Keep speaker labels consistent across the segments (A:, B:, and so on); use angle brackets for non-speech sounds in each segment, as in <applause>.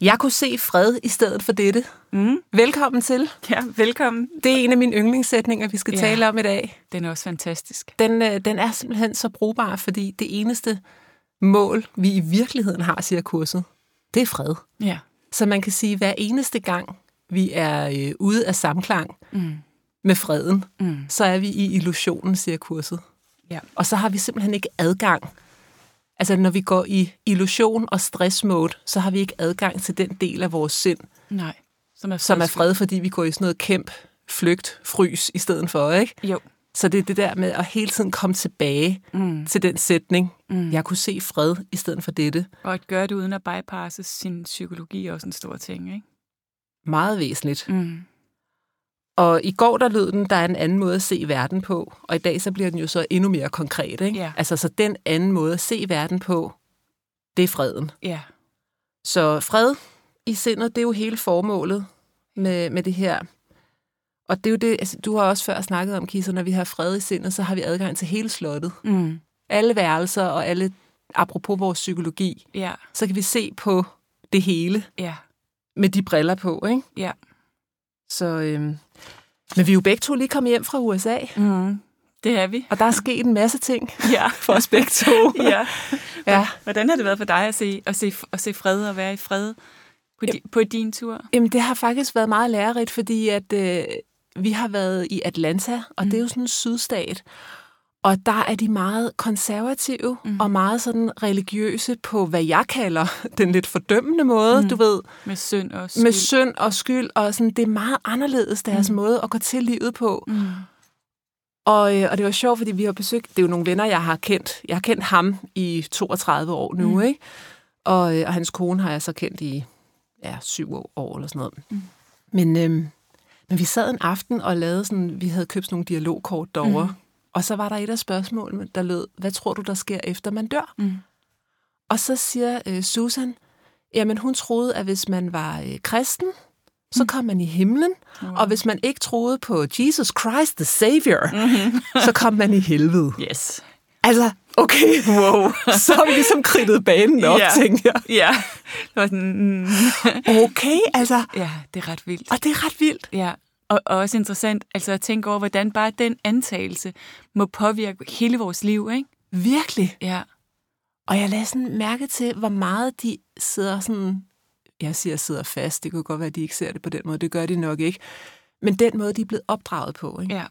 A: Jeg kunne se fred i stedet for dette.
B: Mm.
A: Velkommen til.
B: Ja, velkommen.
A: Det er en af mine yndlingssætninger, vi skal
B: Ja.
A: ja. tale om i dag.
B: Den er også fantastisk.
A: Den, øh, den er simpelthen så brugbar, fordi det eneste mål, vi i virkeligheden har, siger kurset, det er fred.
B: Ja.
A: Så man kan sige, hver eneste gang, vi er øh, ude af samklang
B: Mm.
A: med freden,
B: Mm.
A: så er vi i illusionen, siger kurset.
B: Ja.
A: Og så har vi simpelthen ikke adgang. Altså, når vi går i illusion og stressmode, så har vi ikke adgang til den del af vores sind,
B: Nej. Som er,
A: som er fred, fordi vi går i sådan noget kæmp, flygt, frys i stedet for, ikke?
B: Jo.
A: Så det er det der med at hele tiden komme tilbage
B: Mm.
A: til den sætning.
B: Mm.
A: Jeg kunne se fred i stedet for dette.
B: Og at gøre det uden at bypasse sin psykologi er også en stor ting, ikke?
A: Meget væsentligt.
B: Mm.
A: Og i går der lød den, der er en anden måde at se verden på, og i dag så bliver den jo så endnu mere konkret. Ikke?
B: Ja.
A: Altså så den anden måde at se verden på, det er freden.
B: Ja.
A: Så fred i sindet, det er jo hele formålet med, med det her. Og det er jo det, altså, du har også før snakket om, Kisser, når vi har fred i sindet, så har vi adgang til hele slottet.
B: Mm.
A: Alle værelser og alle, apropos vores psykologi,
B: Ja.
A: så kan vi se på det hele
B: Ja.
A: med de briller på, ikke?
B: Ja.
A: Så, øhm, men vi er jo begge to lige kommet hjem fra USA,
B: Mm. Det er vi.
A: og der er sket en masse ting
B: <laughs> Ja.
A: for <laughs> os begge <laughs> to.
B: ja.
A: ja.
B: Hvordan har det været for dig at se, at se, at se fred og være i fred på, di, på din tur?
A: Jamen, det har faktisk været meget lærerigt, fordi at, øh, vi har været i Atlanta, og mm. det er jo sådan en sydstat. Og der er de meget konservative mm. og meget sådan religiøse på, hvad jeg kalder <laughs> den lidt fordømmende måde, mm. du ved.
B: Med synd og
A: med
B: skyld?
A: synd og skyld, og sådan, det er meget anderledes deres mm. måde at gå til livet på. Mm. Og, øh, og det var sjovt, fordi vi har besøgt, det er jo nogle venner, jeg har kendt. Jeg har kendt ham i 32 år nu, mm. ikke? Og, øh, og hans kone har jeg så kendt i ja, syv år, år eller sådan noget. Mm. Men, øh, men vi sad en aften og lavede sådan, vi havde købt sådan nogle dialogkort derovre. Mm. Og så var der et af spørgsmålene, der lød, hvad tror du, der sker efter man dør?
B: Mm.
A: Og så siger øh, Susan, jamen hun troede, at hvis man var øh, kristen, så kom man i himlen, wow. og hvis man ikke troede på Jesus Christ the Savior, mm-hmm. så kom man i helvede.
B: Yes.
A: Altså, okay, wow. så har vi ligesom kridtet banen op,
B: Ja.
A: yeah. tænkte jeg.
B: Ja. Det var sådan, mm.
A: Okay, altså,
B: ja, det er ret vildt.
A: og det er ret vildt.
B: Ja. Og, og også interessant altså at tænke over, hvordan bare den antagelse må påvirke hele vores liv, ikke?
A: Virkelig.
B: Ja.
A: Og jeg lagde sådan mærke til, hvor meget de sidder sådan... Jeg siger sidder fast, det kunne godt være, at de ikke ser det på den måde. Det gør de nok ikke. Men den måde, de er blevet opdraget på, ikke?
B: Ja.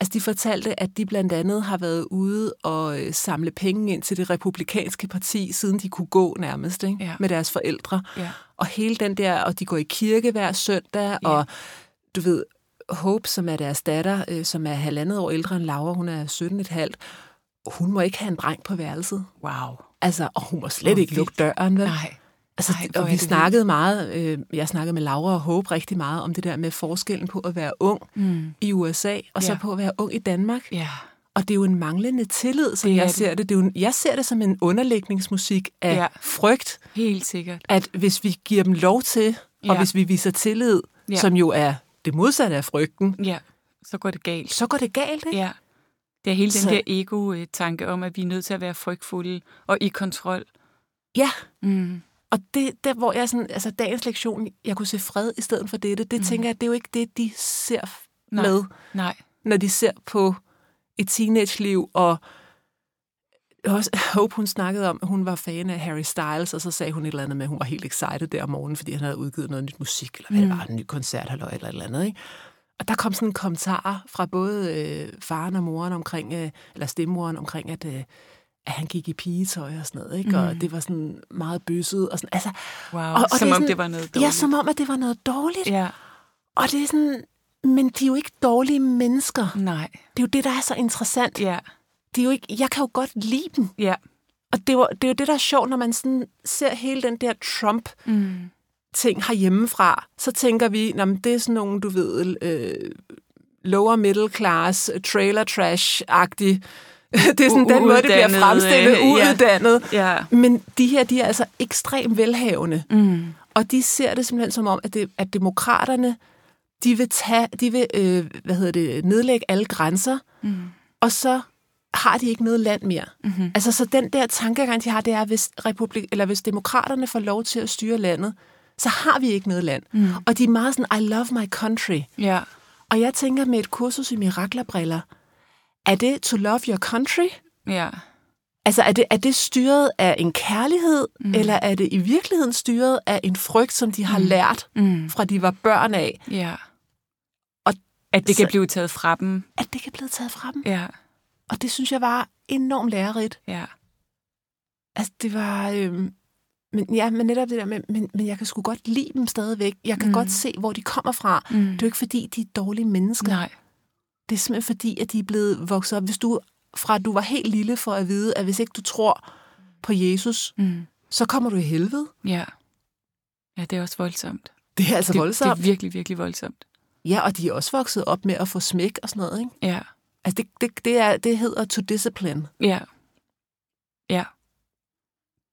A: Altså, de fortalte, at de blandt andet har været ude og øh, samle penge ind til det republikanske parti, siden de kunne gå nærmest ikke?
B: Ja.
A: med deres forældre.
B: Ja.
A: Og hele den der, og de går i kirke hver søndag,
B: Ja.
A: og du ved, Hope, som er deres datter, øh, som er halvandet år ældre end Laura, hun er 17 et halvt, hun må ikke have en dreng på værelset.
B: Wow.
A: Altså, og hun må slet
B: Hvor
A: ikke lukke døren, vel?
B: Nej.
A: Altså,
B: Ej,
A: Ej,
B: hvor er
A: og vi
B: det vildt.
A: snakkede meget, øh, jeg snakkede med Laura og Hope rigtig meget om det der med forskellen på at være ung
B: Mm.
A: i USA, og så
B: Ja.
A: på at være ung i Danmark.
B: Ja.
A: Og det er jo en manglende tillid, som
B: Det er
A: jeg
B: det.
A: ser det. det er jo en, jeg ser det som en underlægningsmusik af
B: Ja.
A: ja. frygt,
B: Helt sikkert.
A: at hvis vi giver dem lov til, og
B: Ja.
A: hvis vi viser tillid,
B: Ja.
A: ja. som jo er det modsatte af frygten,
B: Ja. Så går det galt.
A: så går det galt, ikke?
B: Ja. Det er hele den
A: Så-
B: der ego-tanke om, at vi er nødt til at være frygtfulde og i kontrol.
A: Ja.
B: Mm.
A: Og det, der, hvor jeg sådan, altså dagens lektion, jeg kunne se fred i stedet for dette, det mm. tænker jeg, det er jo ikke det, de ser f-
B: Nej.
A: med,
B: Nej.
A: når de ser på et teenage-liv, og også Hope, hun snakkede om, at hun var fan af Harry Styles, og så sagde hun et eller andet med, at
B: Mm.
A: hun var helt excited der om morgenen, fordi han havde udgivet noget nyt musik, eller hvad det var, en ny koncert, eller et eller andet, ikke? Og der kom sådan en kommentar fra både øh, faren og moren omkring, øh, eller stemmoren omkring, at, øh, at han gik i pigetøj og sådan noget, ikke? Mm. Og det var sådan meget bøsset og sådan. Altså,
B: Wow,
A: og, og
B: som
A: er
B: om
A: sådan,
B: det var noget
A: Ja,
B: dårligt.
A: som om, at det var noget dårligt. Ja.
B: Ja,
A: Og det er sådan, men de er jo ikke dårlige mennesker.
B: nej.
A: Det er jo det, der er så interessant.
B: Ja,
A: De er jo ikke, jeg kan jo godt lide dem.
B: ja.
A: Og det er, jo, det er jo det, der er sjovt, når man sådan ser hele den der Trump
B: Mm.
A: ting herhjemmefra, så tænker vi, "Nå, men det er sådan nogle, du ved, øh, lower middle class, trailer trash-agtig. <laughs> Det er sådan den måde, det bliver
B: Uuddannet,
A: fremstillet,
B: øh, ja.
A: uuddannet.
B: Ja.
A: Men de her, de er altså ekstremt velhavende.
B: Mm.
A: Og de ser det simpelthen som om, at, det, at demokraterne, de vil, tage, de vil øh, hvad hedder det, nedlægge alle grænser, mm. og så har de ikke noget land mere. Mm-hmm. Altså, så den der tankegang, de har, det er, hvis, republik, eller hvis demokraterne får lov til at styre landet, så har vi ikke noget land. Mm. Og de er meget sådan, I love my country.
B: Ja.
A: Og jeg tænker med et kursus i miraklerbriller, er det to love your country?
B: Ja.
A: Altså, er det, er det styret af en kærlighed, mm. eller er det i virkeligheden styret af en frygt, som de har lært
B: Mm.
A: fra de var børn af,
B: Ja.
A: Og
B: at det kan
A: så-
B: blive taget fra dem.
A: at det kan blive taget fra dem?
B: Ja.
A: Og det synes jeg var enormt lærerigt.
B: Ja.
A: Altså, det var... Øhm, men ja, men netop det der med, men, men jeg kan sgu godt lide dem stadigvæk. Jeg kan mm. godt se, hvor de kommer fra. Mm. Det er jo ikke, fordi de er dårlige mennesker.
B: Nej.
A: Det er simpelthen fordi, at de er blevet vokset op. Hvis du fra at du var helt lille for at vide, at hvis ikke du tror på Jesus,
B: Mm.
A: så kommer du i helvede.
B: Ja. Ja, det er også voldsomt.
A: Det er altså
B: Det,
A: voldsomt.
B: det er virkelig, virkelig voldsomt.
A: Ja, og de er også vokset op med at få smæk og sådan noget, ikke?
B: Ja.
A: Altså, det, det, det, er, det hedder to discipline.
B: Ja. Ja.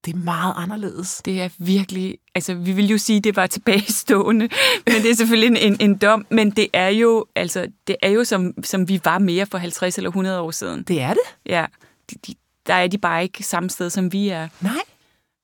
A: Det er meget anderledes.
B: Det er virkelig, altså vi vil jo sige, det var <laughs> tilbagestående, men det er selvfølgelig en, en, en dom, men det er jo, altså, det er jo som, som vi var mere for 50 eller 100 år siden.
A: Det er det?
B: Ja, de, de, der er de bare ikke samme sted, som vi er.
A: Nej.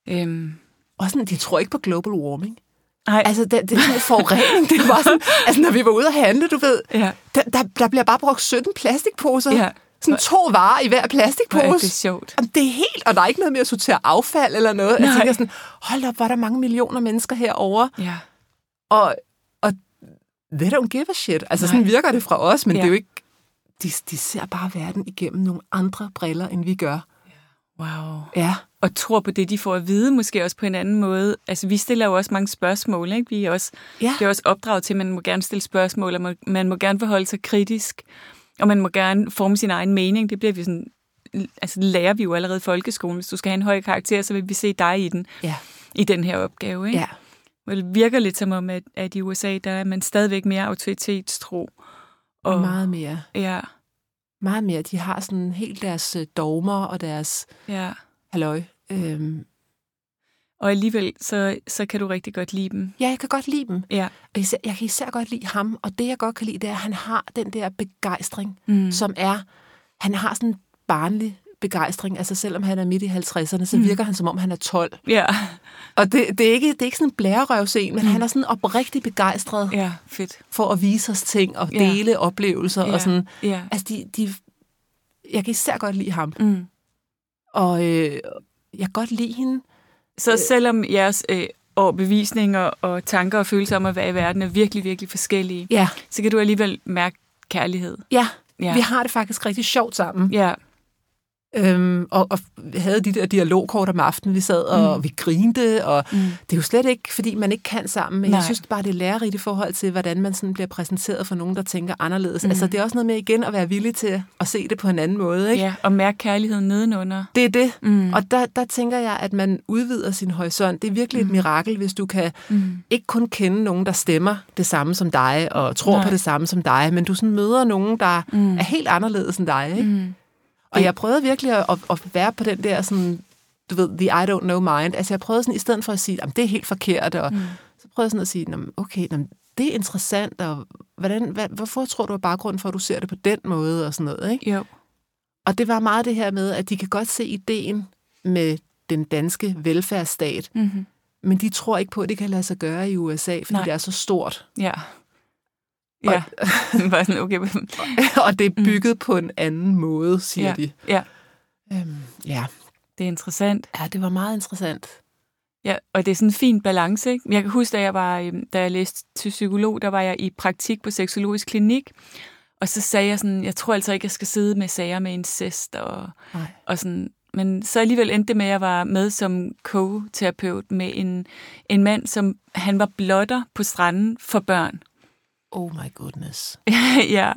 B: Øhm,
A: Og sådan, de tror ikke på global warming.
B: nej, altså,
A: Altså, det, det er sådan en forurening. Det var sådan, altså, når vi var ude at handle, du ved,
B: Ja.
A: der, der, der bliver bare brugt 17 plastikposer.
B: Ja.
A: Sådan to varer i hver plastikpose.
B: hvor er det sjovt.
A: Jamen, det er helt, og der er ikke noget med at sortere affald eller noget. Jeg
B: Nej.
A: tænker sådan, hold op, var der mange millioner mennesker herovre.
B: Ja,
A: Og, og they don't give a shit. Altså,
B: Nej.
A: sådan virker det fra os, men
B: Ja.
A: det er jo ikke... De, de ser bare verden igennem nogle andre briller, end vi gør.
B: wow.
A: Ja.
B: og tror på det, de får at vide, måske også på en anden måde. Altså, vi stiller jo også mange spørgsmål, ikke? Vi er også,
A: Ja.
B: Det er også opdraget til, at man må gerne stille spørgsmål, og man- man må gerne forholde sig kritisk, og man må gerne forme sin egen mening. Det bliver vi sådan, altså, det lærer vi jo allerede i folkeskolen. Hvis du skal have en høj karakter, så vil vi se dig i den,
A: Ja.
B: i den her opgave, ikke?
A: Ja.
B: Well, det virker lidt som om, at, at i USA, der er man stadigvæk mere autoritetstro. Og,
A: Meget mere.
B: Ja,
A: Meget mere. De har sådan helt deres øh, dogmer og deres
B: ja.
A: halløj. Øhm,
B: Og alligevel, så, så kan du rigtig godt lide dem.
A: ja, jeg kan godt lide dem.
B: Ja.
A: Og især, jeg kan især godt lide ham, og det jeg godt kan lide, det er, at han har den der begejstring,
B: Mm.
A: mm. som er, han har sådan en barnlig begejstring. Altså selvom han er midt i 50'erne,
B: Mm.
A: så virker han som om, han er 12.
B: Ja,
A: Og det, det, er, ikke, det er ikke sådan en blærerøvsen, men mm. han er sådan oprigtigt begejstret ja.
B: ja, fedt.
A: for at vise os ting og
B: Ja.
A: dele oplevelser.
B: Ja.
A: Og sådan.
B: Ja.
A: Altså, de, de, jeg kan især godt lide ham.
B: Mm.
A: Og øh, jeg kan godt lide hende.
B: Så selvom jeres øh, overbevisninger og tanker og følelser om at være i verden er virkelig, virkelig forskellige,
A: Ja.
B: så kan du alligevel mærke kærlighed.
A: Ja.
B: Ja.
A: ja, vi har det faktisk rigtig sjovt sammen.
B: Ja,
A: Øhm, og, og havde de der dialogkort om aftenen, vi sad og mm. vi grinte, og mm. det er jo slet ikke, fordi man ikke kan sammen, men Nej.
B: Nej.
A: jeg synes bare, det er lærerigt i forhold til, hvordan man sådan bliver præsenteret for nogen, der tænker anderledes. Mm. Altså, det er også noget med igen at være villig til at se det på en anden måde, ikke?
B: ja. og mærke kærligheden nedenunder.
A: Det er det.
B: Mm.
A: Og der, der tænker jeg, at man udvider sin horisont. Det er virkelig mm. et mirakel, hvis du kan mm. ikke kun kende nogen, der stemmer det samme som dig, og tror
B: Nej.
A: Nej. på det samme som dig, men du sådan møder nogen, der mm. er helt anderledes end dig. Ikke? Mm. Og jeg prøvede virkelig at, at, at være på den der sådan, du ved, the I don't know mind. Altså jeg prøvede sådan, i stedet for at sige, at det er helt forkert, og mm. så prøvede jeg sådan at sige, "Nå, men okay, nå, men det er interessant, og hvordan, hvad, hvorfor tror du er baggrunden for, at du ser det på den måde, og sådan noget, ikke?
B: Jo.
A: Og det var meget det her med, at de kan godt se ideen med den danske velfærdsstat,
B: Mm-hmm.
A: men de tror ikke på, at det kan lade sig gøre i USA, fordi
B: Nej.
A: Nej. det er så stort.
B: Ja. Ja. <laughs> Bare sådan, okay.
A: <laughs> og det er bygget mm. på en anden måde, siger
B: ja.
A: de.
B: ja,
A: Øhm, ja.
B: det er interessant.
A: ja, det var meget interessant.
B: Ja, og det er sådan en fin balance. Ikke? Jeg kan huske, da jeg, var, øhm, da jeg læste til psykolog, der var jeg i praktik på seksologisk klinik, og så sagde jeg sådan, jeg tror altså ikke, jeg skal sidde med sager med incest. Og,
A: Nej.
B: og sådan. Men så alligevel endte det med, at jeg var med som co-terapeut med en, en mand, som han var blotter på stranden for børn. <laughs>
A: Oh my goodness.
B: ja,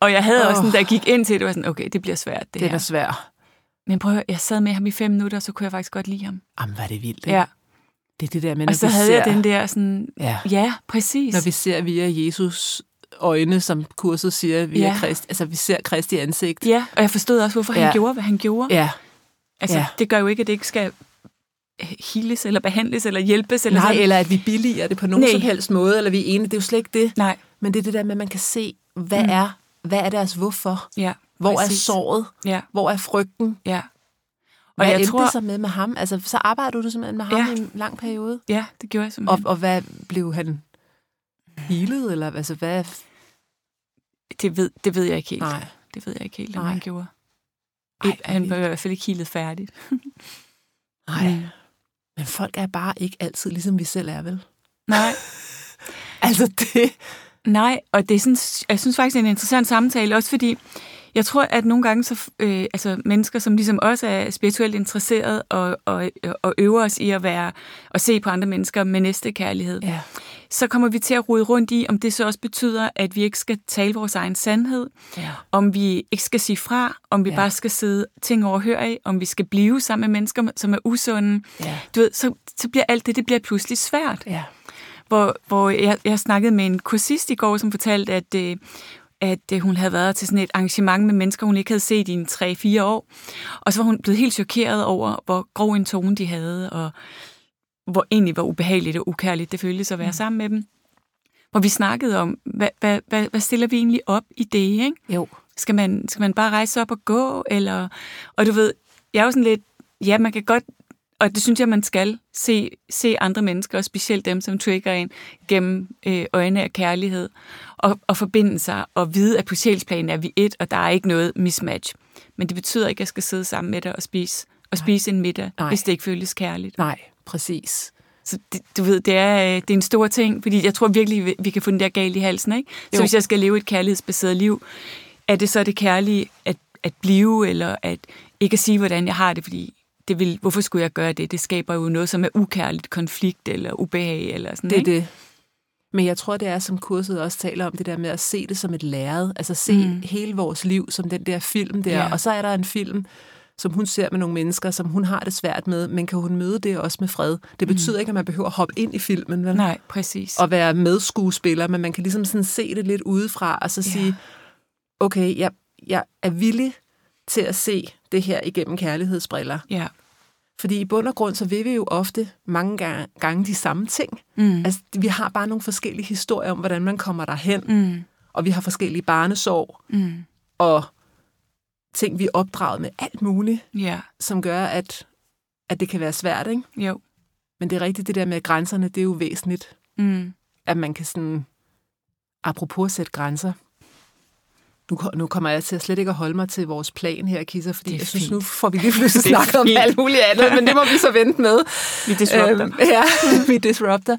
B: og jeg havde oh. også
A: Åh.
B: sådan, da jeg gik ind til det, det var sådan, okay, det bliver svært det,
A: Den
B: her.
A: er svær.
B: Men prøv at høre, jeg sad med ham i fem minutter, og så kunne jeg faktisk godt lide ham.
A: Jamen, hvad er det vildt, ikke?
B: Ja.
A: Det er det der med, når
B: Og så
A: vi
B: havde
A: ser,
B: jeg den der sådan,
A: Ja,
B: ja, præcis.
A: når vi ser via Jesus øjne, som kurset siger, via
B: Ja.
A: ja. Kristi, altså vi ser Kristi ansigt.
B: Ja, og jeg forstod også, hvorfor ja. han
A: Ja.
B: gjorde, hvad han gjorde. Ja.
A: Ja,
B: Altså, ja.
A: ja.
B: det gør jo ikke, at det ikke skal hiles, eller behandles, eller hjælpes. Eller
A: nej,
B: sådan.
A: eller at vi billiger det på nogen
B: Nej.
A: Nej. som helst måde, eller vi er enige, det er jo slet ikke det.
B: Nej,
A: Men det er det der med, at man kan se, hvad
B: Mm.
A: mm. er hvad er deres hvorfor?
B: ja.
A: Hvor
B: præcis.
A: er såret?
B: Ja,
A: Hvor er frygten?
B: ja. Og
A: Hvad
B: jeg
A: endte
B: tror,
A: det så med med ham? Altså, så arbejdede du simpelthen med ham
B: Ja.
A: ja. i en lang periode.
B: ja, det gjorde jeg som
A: Og, og hvad blev han healet? Eller, altså, hvad?
B: det, ved, det ved jeg ikke helt.
A: Nej.
B: Det ved jeg ikke helt, om
A: Nej.
B: han gjorde.
A: Ej,
B: Ej, han
A: hvor
B: var i hvert fald ikke hilet færdigt.
A: Nej.
B: Mm.
A: Men folk er bare ikke altid, ligesom vi selv er, vel?
B: Nej,
A: Altså, det...
B: Nej, og det er sådan, jeg synes faktisk, det er en interessant samtale, også fordi jeg tror, at nogle gange, så, øh, altså mennesker, som ligesom også er spirituelt interesseret og, og, og øver os i at være og se på andre mennesker med næste kærlighed,
A: Ja.
B: så kommer vi til at rode rundt i, om det så også betyder, at vi ikke skal tale vores egen sandhed,
A: ja.
B: om vi ikke skal sige fra, om vi ja.
A: Ja.
B: bare skal sidde ting overhørig, om vi skal blive sammen med mennesker, som er usunde.
A: Ja.
B: Du ved, så, så bliver alt det, det bliver pludselig svært
A: Ja.
B: hvor, hvor jeg, jeg snakkede med en kursist i går, som fortalte, at, øh, at øh, hun havde været til sådan et arrangement med mennesker, hun ikke havde set i en 3-4 år. Og så var hun blevet helt chokeret over, hvor grov en tone de havde, og hvor egentlig hvor ubehageligt og ukærligt det føltes at være sammen med dem. Hvor vi snakkede om, hvad, hvad, hvad, hvad stiller vi egentlig op i det, ikke?
A: Jo.
B: Skal man, skal man bare rejse sig op og gå? Eller, og du ved, jeg er jo sådan lidt, ja, man kan godt, og det synes jeg, man skal, se, se andre mennesker, og specielt dem, som trigger en, gennem øh, øjne af kærlighed, og, og forbinde sig, og vide, at på sjælsplanen er vi et, og der er ikke noget mismatch. Men det betyder ikke, at jeg skal sidde sammen med dig og spise, og spise en middag, Nej.
A: Nej.
B: hvis det ikke føles kærligt.
A: Nej, præcis.
B: Så det, du ved, det er, øh, det er en stor ting, fordi jeg tror virkelig, vi- vi kan få den der galt i halsen, ikke? Så
A: Jo.
B: hvis jeg skal leve et kærlighedsbaseret liv, er det så det kærlige at, at blive, eller at ikke at sige, hvordan jeg har det, fordi det vil, hvorfor skulle jeg gøre det? Det skaber jo noget, som er ukærligt, konflikt eller ubehag eller sådan,
A: Det er
B: ikke?
A: det. Men jeg tror, det er, som kurset også taler om, det der med at se det som et lærred. Altså se mm. hele vores liv som den der film der.
B: Ja.
A: Ja. Og så er der en film, som hun ser med nogle mennesker, som hun har det svært med, men kan hun møde det også med fred? Det betyder mm. ikke, at man behøver at hoppe ind i filmen, vel?
B: Nej, præcis.
A: og være medskuespiller, men man kan ligesom sådan se det lidt udefra, og så
B: Ja.
A: ja. sige, okay, jeg, jeg er villig til at se det her igennem kærlighedsbriller.
B: ja.
A: Fordi i bund og grund, så vil vi jo ofte mange ga- gange de samme ting.
B: Mm.
A: Altså, vi har bare nogle forskellige historier om, hvordan man kommer derhen,
B: Mm.
A: og vi har forskellige barnesorg,
B: Mm.
A: og ting, vi er opdraget med, alt muligt,
B: Ja,
A: som gør, at, at det kan være svært, ikke?
B: jo.
A: Men det er rigtigt, det der med grænserne, det er jo væsentligt.
B: Mm.
A: at man kan sådan, apropos sætte grænser, nu, ko- nu kommer jeg til at slet ikke at holde mig til vores plan her, Kisser, fordi
B: Det er
A: jeg synes,
B: fint.
A: nu får vi lige
B: <laughs>
A: pludselig
B: Det er
A: snakket om
B: fint.
A: alt muligt andet, men det må vi så vente med.
B: Vi disrupter.
A: Øhm, ja, <laughs> vi disrupter.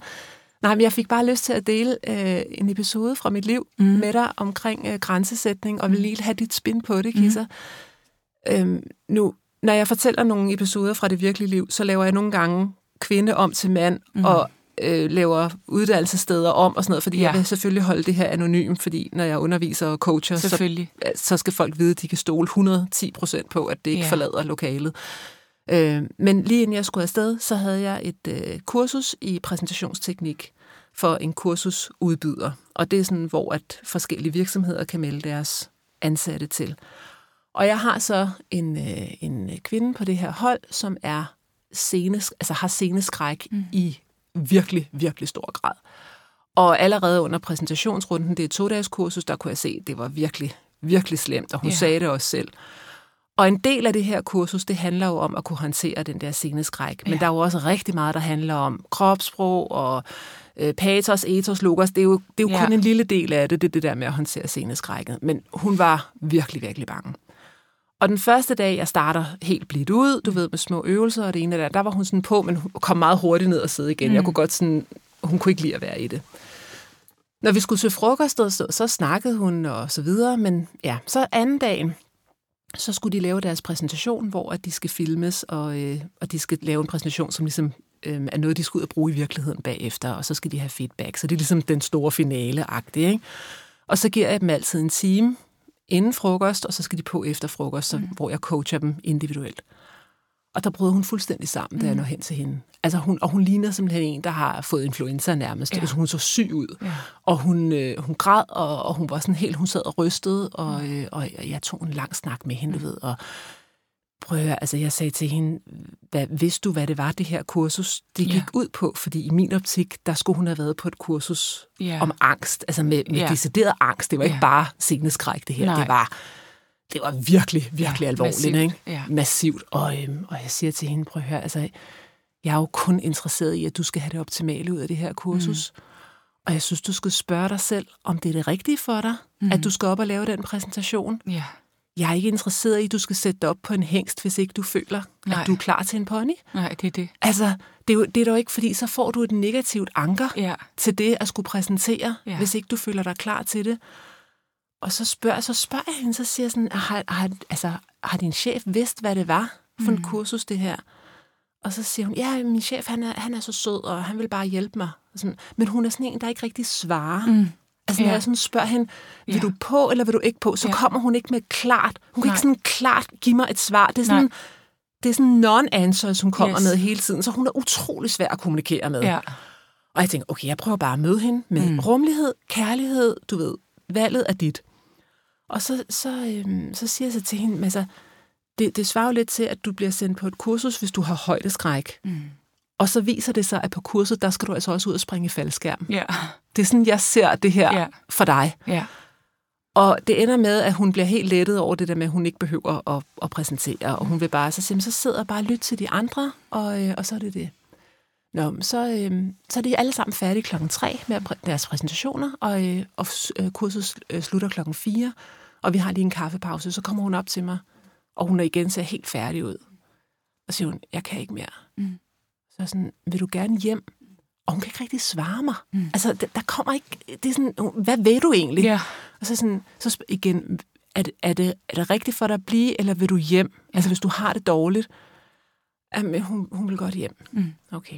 A: Nej, men jeg fik bare lyst til at dele øh, en episode fra mit liv mm. med dig omkring øh, grænsesætning, og vil lige have dit spin på det, Kisser. Mm. Øhm, nu, når jeg fortæller nogle episoder fra det virkelige liv, så laver jeg nogle gange kvinde om til mand, mm. og øh, laver uddannelsessteder om og sådan noget, fordi
B: Ja.
A: ja. jeg vil selvfølgelig holde det her anonym, fordi når jeg underviser og coacher, så
B: Selvfølgelig.
A: øh, så skal folk vide, at de kan stole 110 procent på, at det ikke
B: Ja.
A: ja. forlader lokalet. Øh, men lige inden jeg skulle afsted, så havde jeg et øh, kursus i præsentationsteknik for en kursusudbyder. Og det er sådan, hvor at forskellige virksomheder kan melde deres ansatte til. Og jeg har så en, øh, en øh, kvinde på det her hold, som er scenes, altså har sceneskræk mm. i virkelig, virkelig stor grad. Og allerede under præsentationsrunden, det er et to-dages kursus, der kunne jeg se, at det var virkelig, virkelig slemt, og hun
B: Ja.
A: ja. sagde det også selv. Og en del af det her kursus, det handler jo om at kunne håndtere den der sceneskræk. Men
B: Ja.
A: der er jo også rigtig meget, der handler om kropssprog og øh, patos, ethos, logos. Det er jo, det er jo
B: Ja.
A: kun en lille del af det, det er det der med at håndtere sceneskrækket. Men hun var virkelig, virkelig bange. Og den første dag, jeg starter helt blidt ud, du ved, med små øvelser og det ene og det andet, der var hun sådan på, men hun kom meget hurtigt ned og sidde igen. Mm. Jeg kunne godt sådan, hun kunne ikke lide at være i det. Når vi skulle til frokost, så, så snakkede hun og så videre, men ja, så anden dagen, så skulle de lave deres præsentation, hvor at de skal filmes, og, øh, og de skal lave en præsentation, som ligesom øh, er noget, de skal ud og bruge i virkeligheden bagefter, og så skal de have feedback. Så det er ligesom den store finale-agtige, ikke? Og så giver jeg dem altid en time inden frokost, og så skal de på efter frokost, så, mm. hvor jeg coacher dem individuelt. Og der brød hun fuldstændig sammen, da jeg når hen til hende. Altså hun, og hun ligner simpelthen en, der har fået influenza nærmest. Ja. Altså hun så syg ud. Ja. Og hun, øh, hun græd, og, og hun var sådan helt, hun sad og rystede, og, øh, og jeg tog en lang snak med hende, du ved. Og prøv at høre, altså jeg sagde til hende, hvad, vidste du, hvad det var, det her kursus, det gik
B: Ja.
A: ja. ud på? Fordi i min optik, der skulle hun have været på et kursus
B: Ja.
A: ja. om angst. Altså med, med
B: Ja.
A: ja. decideret angst. Det var ikke
B: Ja.
A: ja. bare seneskræk, det her.
B: Nej.
A: Det var det var virkelig, virkelig
B: Ja,
A: ja, alvorligt.
B: massivt,
A: Ikke?
B: ja.
A: Massivt. Og, øhm, og jeg siger til hende, prøv at høre, altså, jeg er jo kun interesseret i, at du skal have det optimale ud af det her kursus. Mm. Og jeg synes, du skal spørge dig selv, om det er det rigtige for dig, mm. at du skal op og lave den præsentation.
B: Ja.
A: Jeg er ikke interesseret i, at du skal sætte dig op på en hængst, hvis ikke du føler,
B: Nej.
A: at du er klar til en pony.
B: Nej, det er det.
A: Altså, det er, jo, det er dog ikke, fordi så får du et negativt anker
B: Ja.
A: til det at skulle præsentere,
B: Ja.
A: ja. hvis ikke du føler dig klar til det. Og så spørger, så spørger jeg hende, så siger jeg sådan, har, har, altså, har din chef vidst, hvad det var for mm. en kursus, det her? Og så siger hun, ja, min chef, han er, han er så sød, og han vil bare hjælpe mig. Og Sådan, men hun er sådan en, der ikke rigtig svarer. Mm. Altså, når
B: Ja.
A: jeg sådan spørger hende, vil
B: Ja.
A: du på, eller vil du ikke på, så
B: Ja.
A: ja. kommer hun ikke med et klart. Hun kan
B: Nej.
A: ikke sådan klart give mig et svar. Det er sådan,
B: Nej.
A: det er sådan non-answers, hun kommer
B: Yes.
A: yes. med hele tiden, så hun er utrolig svær at kommunikere med.
B: Ja.
A: Og jeg tænker, okay, jeg prøver bare at møde hende med mm. rummelighed, kærlighed, du ved, valget er dit. Og så, så, øhm, så siger jeg så til hende, men altså, det, det svarer jo lidt til, at du bliver sendt på et kursus, hvis du har højdeskræk. Mm. Og så viser det sig, at på kurset, der skal du altså også ud og springe i faldskærm.
B: Ja.
A: Det er sådan, jeg ser det her
B: Ja.
A: yeah. for dig.
B: Ja.
A: Og det ender med, at hun bliver helt lettet over det der med, at hun ikke behøver at, at præsentere, og hun vil bare så sige, "Men så sidder og bare lytte til de andre, og, øh, og så er det det. Nå, men så, øh, så er de alle sammen færdige klokken tre med præ- deres præsentationer, og, øh, og s- øh, kurset sl- øh, slutter klokken 4, og vi har lige en kaffepause, så kommer hun op til mig, og hun er igen ser helt færdig ud. Og siger hun, jeg kan ikke mere. Mm. Så er jeg sådan, vil du gerne hjem? Og hun kan ikke rigtig svare mig. Mm. Altså, der, der kommer ikke, det er sådan, hvad ved du egentlig?
B: Ja.
A: Og så sådan, så sp- igen, er det, er, det, er det rigtigt for dig at blive, eller vil du hjem? Altså, hvis du har det dårligt. Jamen, hun, hun vil godt hjem.
B: Mm.
A: Okay.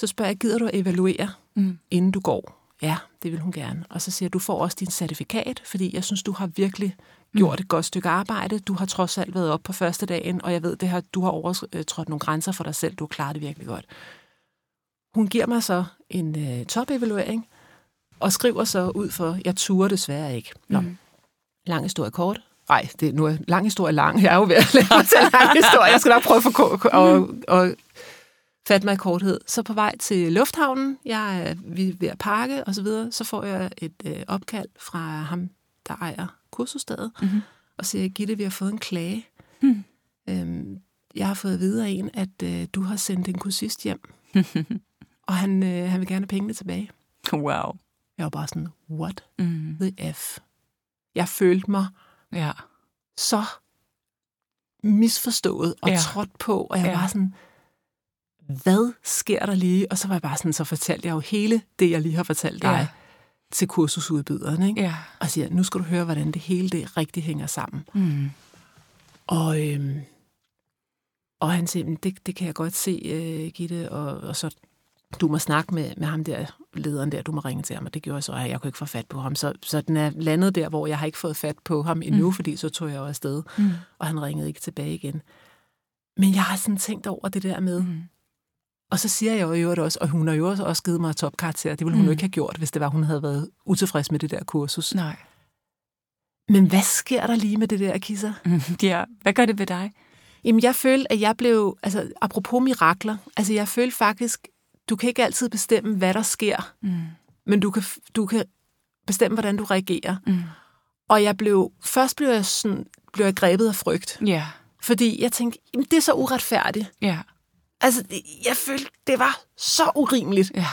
A: Så spørger jeg, gider du at evaluere,
B: Mm.
A: inden du går? Ja, det vil hun gerne. Og så siger jeg, du får også din certifikat, fordi jeg synes, du har virkelig
B: Mm.
A: gjort et godt stykke arbejde. Du har trods alt været op på første dagen, og jeg ved, det her, du har overtrådt nogle grænser for dig selv. Du har klaret det virkelig godt. Hun giver mig så en øh, top-evaluering, og skriver så ud for, jeg turer desværre ikke. Nå. Mm. Lang historie kort. Nej, det, er- nu er lang historie lang. Jeg er jo ved at lære at tage lang historie. Jeg skal nok prøve at få ko- ko- og, og fatte mig i korthed. Så på vej til lufthavnen, jeg er, vi er ved at pakke og så, videre, så får jeg et øh, opkald fra ham, der ejer kursusstedet, mm-hmm. og siger, Gitte, vi har fået en klage. Mm. Øhm, jeg har fået videre en, at øh, du har sendt en kursist hjem,
B: Mhm.
A: <laughs> og han, øh, han vil gerne have pengene tilbage.
B: Wow.
A: Jeg var bare sådan, what
B: Mm.
A: the F? Jeg følte mig
B: Ja.
A: så misforstået og
B: Ja.
A: ja. trådt på, og jeg
B: Ja.
A: ja. var sådan, hvad sker der lige? Og så var jeg bare sådan, så fortalte jeg jo hele det, jeg lige har fortalt dig
B: Ja.
A: ja. til kursusudbyderen, ikke?
B: Ja.
A: og siger, nu skal du høre, hvordan det hele det rigtig hænger sammen.
B: Mm.
A: Og, øhm, og han siger, "Men det, det kan jeg godt se, øh, Gitte, og, og så du må snakke med, med ham der, lederen der, du må ringe til ham, og det gjorde jeg så, og jeg kunne ikke få fat på ham. Så, så den er landet der, hvor jeg har ikke fået fat på ham endnu, mm. fordi så tog jeg jo afsted, mm. og han ringede ikke tilbage igen. Men jeg har sådan tænkt over det der med, mm. og så siger jeg jo i øvrigt også, og hun har jo også- også givet mig topkarakter, det ville hun
B: Mm.
A: jo ikke have gjort, hvis det var, hun havde været utilfreds med det der kursus.
B: Nej.
A: Men hvad sker der lige med det der, Kisser?
B: Mm. Ja. Hvad gør det ved dig?
A: Jamen, jeg følte, at jeg blev, altså apropos mirakler, altså jeg følte faktisk, du kan ikke altid bestemme, hvad der sker, mm. men du kan, du kan bestemme, hvordan du reagerer. Mm. Og jeg blev, først blev jeg, sådan, blev jeg grebet af frygt,
B: Ja.
A: fordi jeg tænkte, jamen, det er så uretfærdigt.
B: Ja.
A: Altså, jeg følte, det var så urimeligt.
B: Ja.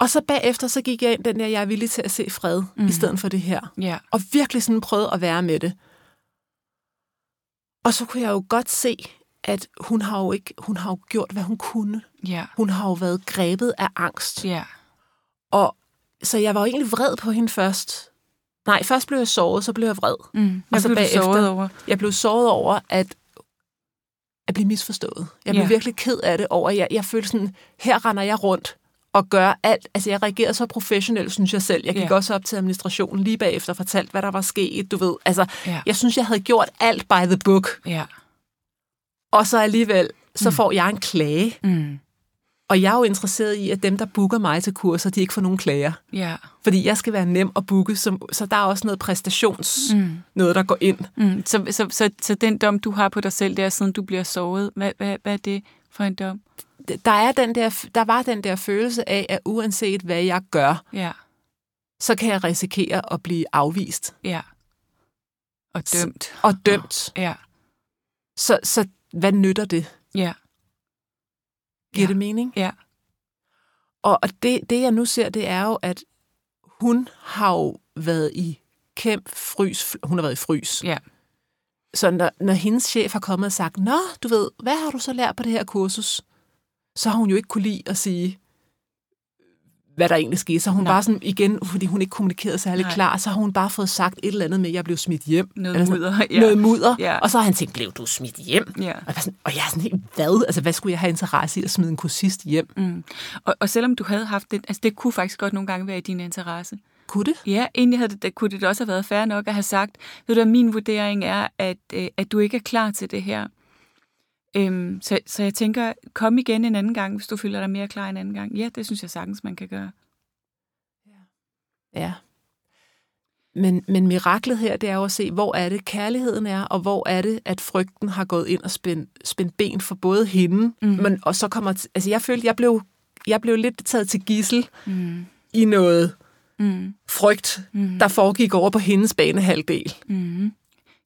A: Og så bagefter, så gik jeg ind den der, jeg er villig til at se fred, mm. i stedet for det her
B: Ja.
A: og virkelig sådan prøvede at være med det. Og så kunne jeg jo godt se, at hun har jo ikke, hun har jo gjort, hvad hun kunne.
B: Ja.
A: Hun har jo været grebet af angst.
B: Ja.
A: Og så jeg var jo egentlig vred på hende først. Nej, først blev jeg såret, så blev jeg vred.
B: Mm. Hvad
A: så
B: blev du
A: bagefter-
B: såret over?
A: Jeg blev såret over at, at blive misforstået. Jeg blev
B: Ja.
A: virkelig ked af det over, at jeg, jeg følte sådan, her render jeg rundt og gør alt. Altså, jeg reagerede så professionelt, synes jeg selv. Jeg gik
B: Ja.
A: også op til administrationen lige bagefter og fortalte, hvad der var sket, du ved. Altså,
B: Ja.
A: jeg synes, jeg havde gjort alt by the book.
B: Ja.
A: Og så alligevel, så får jeg en klage.
B: Mm.
A: Og jeg er jo interesseret i, at dem, der booker mig til kurser, de ikke får nogen klager.
B: Ja.
A: Fordi jeg skal være nem at booke, som, så der er også noget præstations,
B: Mm.
A: mm. noget der går ind.
B: Mm. Så, så, så, så den dom, du har på dig selv, der siden du bliver såret, hvad, hvad, hvad er det for en dom?
A: Der, er den der, der var den der følelse af, at uanset hvad jeg gør,
B: Ja.
A: så kan jeg risikere at blive afvist
B: Ja. Og dømt.
A: og dømt.
B: Ja.
A: Så, så hvad nytter det?
B: Ja.
A: Giver
B: Ja.
A: ja. det mening?
B: Ja.
A: Og, og det, det, jeg nu ser, det er jo, at hun har jo været i kæmp frys. Hun har været i frys.
B: Ja.
A: Så når, når hendes chef har kommet og sagt, Nå, du ved, hvad har du så lært på det her kursus? Så har hun jo ikke kunne lide at sige, hvad der egentlig skete. Så har hun
B: Nej.
A: Nej. bare sådan, igen, fordi hun ikke kommunikerede særlig
B: Nej.
A: Nej. klar, så har hun bare fået sagt et eller andet med, at jeg blev smidt hjem.
B: Altså, Noget
A: eller sådan,
B: mudder, ja.
A: Noget mudder.
B: Ja.
A: Og så har han tænkt, blev du smidt hjem?
B: Ja.
A: Og jeg, var sådan, og jeg er sådan helt, hvad? Altså, hvad skulle jeg have interesse i at smide en kursist hjem? Mm.
B: Og, og selvom du havde haft det, altså det kunne faktisk godt nogle gange være i din interesse.
A: Kunne det?
B: Ja, egentlig havde det, det, kunne det da også have været fair nok at have sagt, ved du, hvad, min vurdering er, at, øh, at du ikke er klar til det her. Øhm, så, så jeg tænker, kom igen en anden gang, hvis du føler dig mere klar en anden gang. Ja, det synes jeg sagtens, man kan gøre.
A: Ja. Men, men miraklet her, det er jo at se, hvor er det kærligheden er, og hvor er det, at frygten har gået ind og spændt, spændt ben for både hende, mm. men, og så kommer... t- Altså, jeg følte, jeg blev, jeg blev lidt taget til gissel
B: Mm.
A: i noget
B: Mm.
A: frygt, mm. der foregik over på hendes banehalvdel.
B: Mm.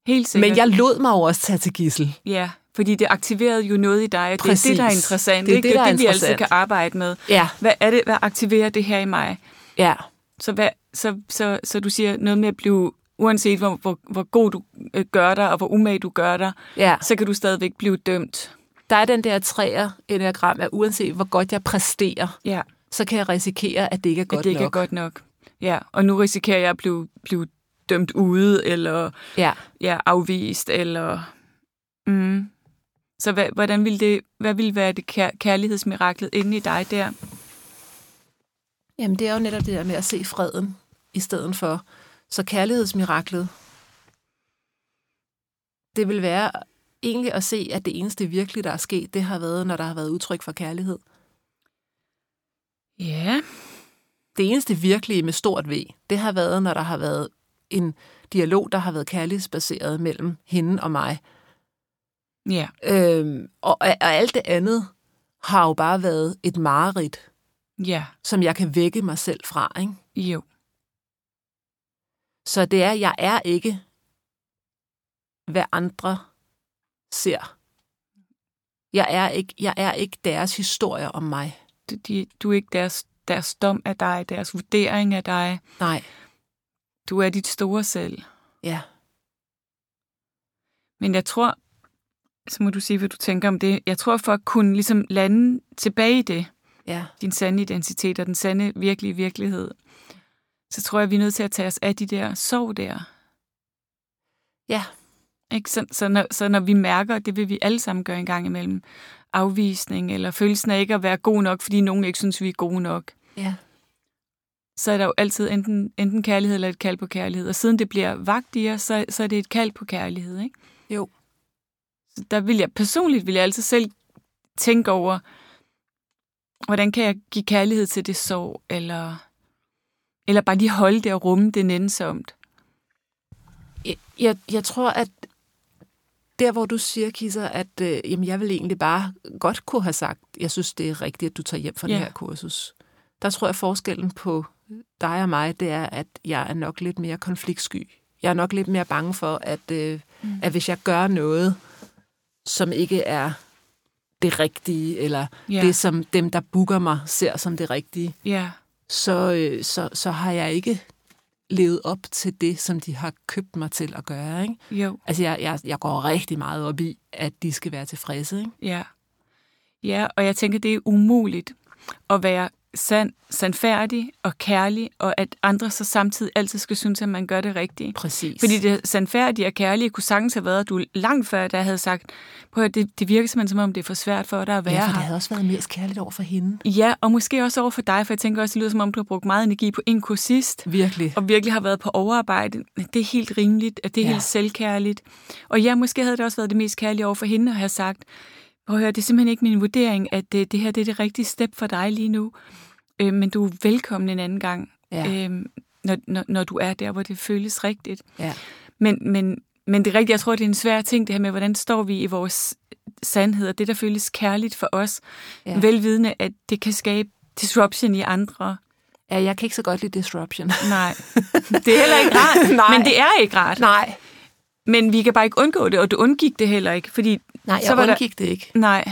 B: Helt sikkert.
A: Men jeg lod mig jo også tage til gissel.
B: Ja, fordi det aktiverede jo noget i dig, og det er det,
A: Præcis.
B: der er interessant.
A: Det er
B: ikke?
A: det, der er
B: det, vi altid
A: interessant.
B: kan arbejde med.
A: Ja.
B: Hvad er det, hvad aktiverer det her i mig?
A: Ja.
B: Så, hvad, så, så, så du siger noget med at blive, uanset hvor, hvor, hvor god du øh, gør dig, og hvor umage du gør dig,
A: Ja.
B: så kan du stadigvæk blive dømt.
A: Der er den der træer enagram, at uanset hvor godt jeg præsterer,
B: Ja,
A: så kan jeg risikere, at det ikke er godt
B: at det ikke
A: nok.
B: er godt nok. Ja, og nu risikerer jeg at blive, blive dømt ude, eller
A: Ja.
B: ja, afvist, eller... Mm. Så hvad, hvordan ville det, hvad ville være det kær- kærlighedsmiraklet inde i dig der?
A: Jamen, det er jo netop det der med at se freden i stedet for. Så kærlighedsmiraklet, det vil være egentlig at se, at det eneste virkelig, der er sket, det har været, når der har været udtryk for kærlighed.
B: Ja,
A: Det eneste virkelige med stort V, det har været, når der har været en dialog, der har været kærlighedsbaseret mellem hende og mig.
B: ja.
A: Øhm, og, og alt det andet har jo bare været et mareridt,
B: Ja,
A: som jeg kan vække mig selv fra, ikke?
B: jo.
A: Så det er, jeg er ikke, hvad andre ser. Jeg er ikke, jeg er ikke deres historie om mig.
B: Du, de, du er ikke deres, deres dom af dig, deres vurdering af dig.
A: Nej.
B: Du er dit store selv.
A: Ja.
B: Men jeg tror, så må du sige, hvad du tænker om det. Jeg tror, for at kunne ligesom lande tilbage i det,
A: Ja.
B: din sande identitet og den sande virkelige virkelighed, så tror jeg, vi er nødt til at tage os af de der sorg der.
A: Ja.
B: Ikke? Så, så, når, så når vi mærker, og det vil vi alle sammen gøre en gang imellem, afvisning eller følelsen af ikke at være god nok, fordi nogen ikke synes, vi er gode nok,
A: Ja.
B: så er der jo altid enten, enten kærlighed eller et kald på kærlighed. Og siden det bliver vagt i os, så, så er det et kald på kærlighed. Ikke?
A: Jo.
B: Så der vil jeg personligt vil jeg altid selv tænke over, hvordan kan jeg give kærlighed til det sorg, eller, eller bare lige holde det og rumme det nænsomt.
A: Jeg, jeg, jeg tror, at der, hvor du siger, Kisser, at øh, jamen, jeg vil egentlig bare godt kunne have sagt, jeg synes, det er rigtigt, at du tager hjem fra ja.
B: Ja.
A: det her kursus. Der tror jeg, at forskellen på dig og mig, det er, at jeg er nok lidt mere konfliktsky. Jeg er nok lidt mere bange for, at, øh, mm. at hvis jeg gør noget, som ikke er det rigtige, eller
B: Ja.
A: ja. det, som dem, der booker mig, ser som det rigtige,
B: Ja,
A: så, øh, så, så har jeg ikke levet op til det, som de har købt mig til at gøre. Ikke?
B: Jo,
A: Altså, jeg, jeg, jeg går rigtig meget op i, at de skal være tilfredse. Ikke?
B: ja. Ja, og jeg tænker, det er umuligt at være sand, sandfærdig og kærlig, og at andre så samtidig altid skal synes, at man gør det rigtige.
A: Præcis.
B: Fordi det sandfærdige og kærlige kunne sagtens have været, at du langt før, der havde sagt, prøv at høre, det, det virker simpelthen, som om det er for svært for dig at være
A: ja, for det
B: her.
A: havde også været mest kærligt over for hende.
B: Ja, og måske også over for dig, for jeg tænker også, det lyder som om, du har brugt meget energi på en kursist,
A: Virkelig.
B: og virkelig har været på overarbejde. Det er helt rimeligt, at det er ja.
A: Ja.
B: helt selvkærligt. Og ja, måske havde det også været det mest kærlige over for hende at have sagt, prøv at høre, det er simpelthen ikke min vurdering, at øh, det, det her det er det rigtige step for dig lige nu, øh, men du er velkommen en anden gang,
A: Ja.
B: øh, når, når, når du er der, hvor det føles rigtigt.
A: Ja.
B: Men, men, men det er rigtigt, jeg tror, det er en svær ting, det her med, hvordan står vi i vores sandhed, og det, der føles kærligt for os, ja.
A: Ja.
B: velvidende, at det kan skabe disruption i andre.
A: ja, jeg kan ikke så godt lide disruption.
B: Nej, <laughs> det er heller ikke rart,
A: <laughs> Nej.
B: men det er ikke rart.
A: <laughs> Nej,
B: Men vi kan bare ikke undgå det, og du undgik det heller ikke, fordi...
A: nej,
B: Så var
A: jeg
B: der-
A: undgik det ikke.
B: Nej,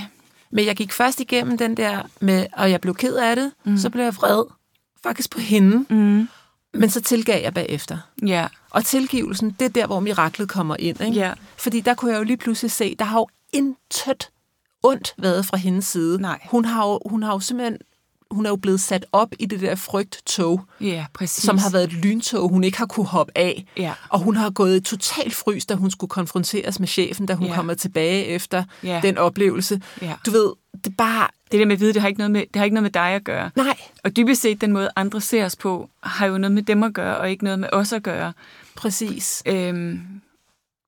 A: Men jeg gik først igennem den der med, og jeg blev ked af det, mm. så blev jeg vred, faktisk på hende,
B: Mm.
A: men så tilgav jeg bagefter.
B: ja,
A: Og tilgivelsen, det er der, hvor miraklet kommer ind. Ikke?
B: Ja.
A: Fordi der kunne jeg jo lige pludselig se, der har jo intet ondt været fra hendes side.
B: Nej.
A: Hun har jo, hun har jo simpelthen hun er jo blevet sat op i det der frygttog,
B: ja, præcis.
A: som har været et lyntog, hun ikke har kunne hoppe af.
B: Ja.
A: Og hun har gået i total frys, da hun skulle konfronteres med chefen, da hun
B: Ja.
A: kommer tilbage efter
B: Ja.
A: den oplevelse.
B: Ja.
A: Du ved, det er bare...
B: Det der med at vide, det har ikke noget med, det har ikke noget med dig at gøre.
A: Nej,
B: Og dybest set, den måde, andre ser os på, har jo noget med dem at gøre, og ikke noget med os at gøre.
A: præcis.
B: Øhm,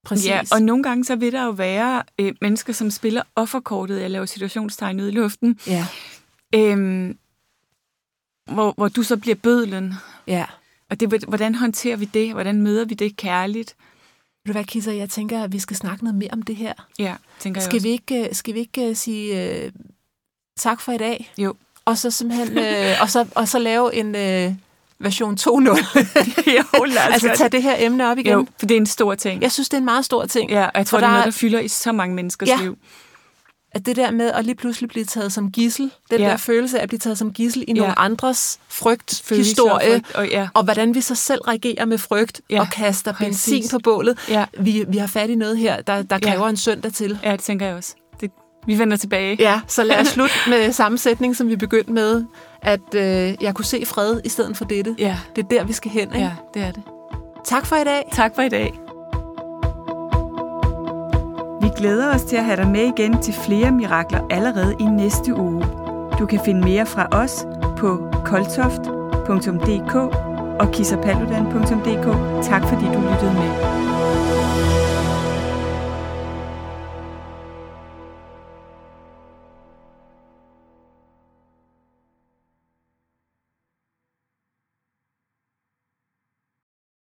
A: præcis.
B: Ja, og nogle gange så vil der jo være øh, mennesker, som spiller offerkortet, jeg laver situationstegn ud i luften,
A: ja.
B: øh, hvor, hvor du så bliver bødlen.
A: ja.
B: Og det, hvordan håndterer vi det? Hvordan møder vi det kærligt?
A: Ved du hvad, Kisser, jeg tænker, at vi skal snakke noget mere om det her.
B: Ja, tænker
A: Skal
B: jeg
A: vi ikke, øh, skal vi ikke øh, sige øh, tak for i dag?
B: Jo. <laughs>
A: Og så simpelthen, øh, og, så, og så lave en øh, version
B: <laughs>
A: 2.0.
B: også. jo, lad os
A: altså
B: gøre
A: tage det her emne op
B: det.
A: igen.
B: Jo, for det er en stor ting.
A: Jeg synes, det er en meget stor ting.
B: Ja, og jeg tror,
A: For
B: det er
A: der-
B: noget, der fylder i så mange menneskers
A: Ja.
B: liv.
A: At det der med at lige pludselig blive taget som gissel, den
B: Ja.
A: der følelse af at blive taget som gissel i nogle andres frygt,
B: Følelser og
A: historie,
B: frygt, og ja.
A: og hvordan vi så selv reagerer med frygt
B: Ja,
A: og kaster
B: præcis.
A: benzin på bålet.
B: Ja.
A: Vi, vi har fat i noget her, der, der
B: Ja.
A: kræver en søndag til.
B: Ja, det tænker jeg også. Det, vi vender tilbage.
A: Ja, så lad os slutte med samme sætning, som vi begyndte med, at øh, jeg kunne se fred i stedet for dette.
B: ja,
A: Det er der, vi skal hen. Ikke?
B: ja det er det.
A: Tak for i dag.
B: Tak for i dag. Vi glæder os til at have dig med igen til flere mirakler allerede i næste uge. Du kan finde mere fra os på koltoft.dk og kissapaludan.dk. Tak fordi du lyttede med.